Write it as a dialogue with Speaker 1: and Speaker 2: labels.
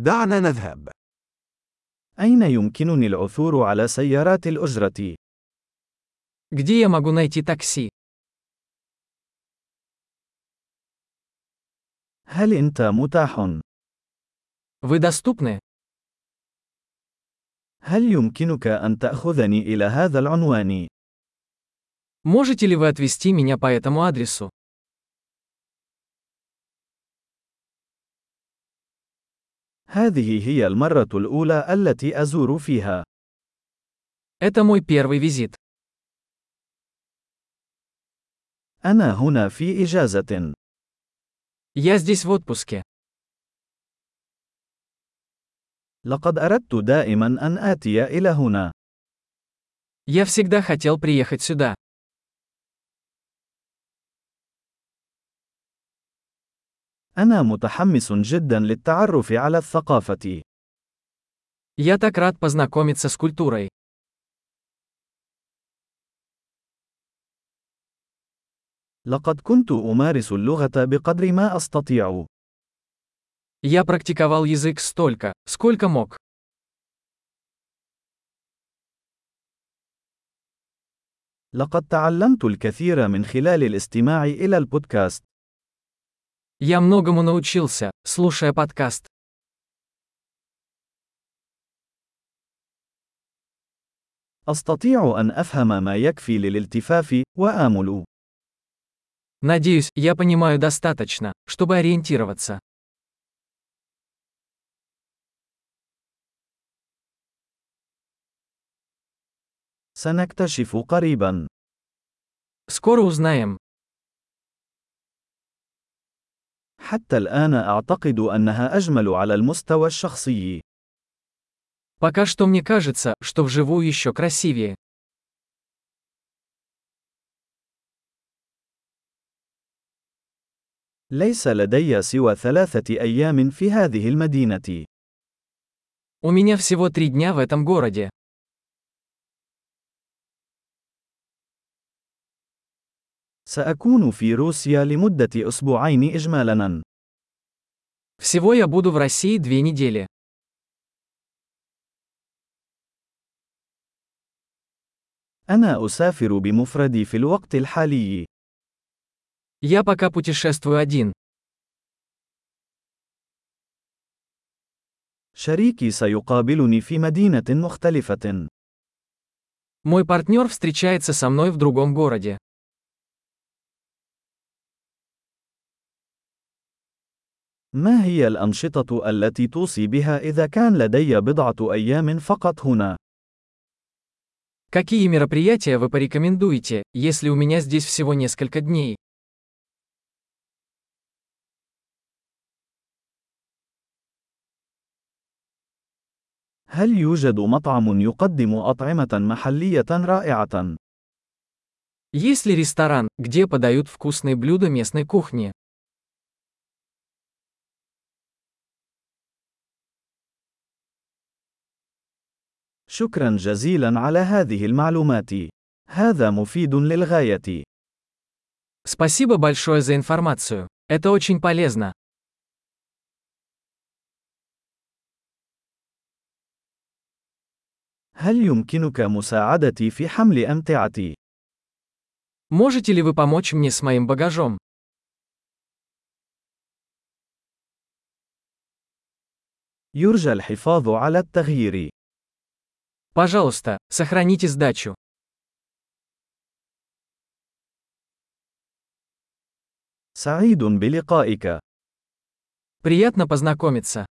Speaker 1: دعنا نذهب.
Speaker 2: أين يمكنني العثور على سيارات الأجرة؟
Speaker 3: Где я могу найти такси?
Speaker 2: هل أنت متاح؟
Speaker 3: Вы доступны?
Speaker 2: هل يمكنك أن تأخذني إلى هذا العنوان؟
Speaker 3: Можете ли вы отвезти меня по этому адресу?
Speaker 2: هذه هي المرة الأولى التي أزور فيها.
Speaker 3: Это мой первый визит.
Speaker 2: أنا هنا في إجازة.
Speaker 3: Я здесь в отпуске.
Speaker 2: لقد أردت دائما أن آتي إلى هنا.
Speaker 3: Я всегда хотел приехать сюда.
Speaker 2: أنا متحمس جدا للتعرف على الثقافة.
Speaker 3: Я так рад познакомиться с культурой.
Speaker 2: لقد كنت أمارس اللغة بقدر ما أستطيع.
Speaker 3: Я практиковал язык столько, сколько мог.
Speaker 2: لقد تعلمت الكثير من خلال الاستماع إلى البودكاست.
Speaker 3: Я многому научился, слушая подкаст.
Speaker 2: أستطيع أن أفهم ما يكفي للالتفاف وآمل.
Speaker 3: Надеюсь, я понимаю достаточно, чтобы ориентироваться.
Speaker 2: سنكتشف قريبا.
Speaker 3: Скоро узнаем.
Speaker 2: حتى الآن أعتقد أنها أجمل على المستوى الشخصي.
Speaker 3: Пока что мне кажется, что вживую еще красивее.
Speaker 2: ليس لدي سوى ثلاثة أيام في هذه المدينة.
Speaker 3: У меня всего три дня в этом городе.
Speaker 2: سأكون في روسيا لمدة أسبوعين إجمالاً.
Speaker 3: Всего я буду в России две недели.
Speaker 2: أنا أسافر بمفردي في الوقت الحالي.
Speaker 3: Я пока путешествую один.
Speaker 2: شريكي سيقابلني في مدينة مختلفة.
Speaker 3: Мой партнер встречается со мной в другом городе.
Speaker 2: ما هي الأنشطة التي توصي بها إذا كان لدي بضعة أيام فقط هنا؟
Speaker 3: Какие мероприятия вы порекомендуете, если у меня здесь всего несколько дней?
Speaker 2: هل يوجد مطعم يقدم أطعمة محلية رائعة؟
Speaker 3: Есть ли ресторан, где подают вкусные блюда местной кухни?
Speaker 2: شكرا جزيلا على هذه المعلومات. هذا مفيد للغاية.
Speaker 3: Спасибо большое за информацию. Это очень полезно.
Speaker 2: هل يمكنك مساعدتي في حمل أمتعتي؟
Speaker 3: Можете ли вы помочь мне с моим багажом?
Speaker 2: يرجى الحفاظ على التغيير.
Speaker 3: Пожалуйста, сохраните сдачу.
Speaker 2: سعيد بلقائك.
Speaker 3: Приятно познакомиться.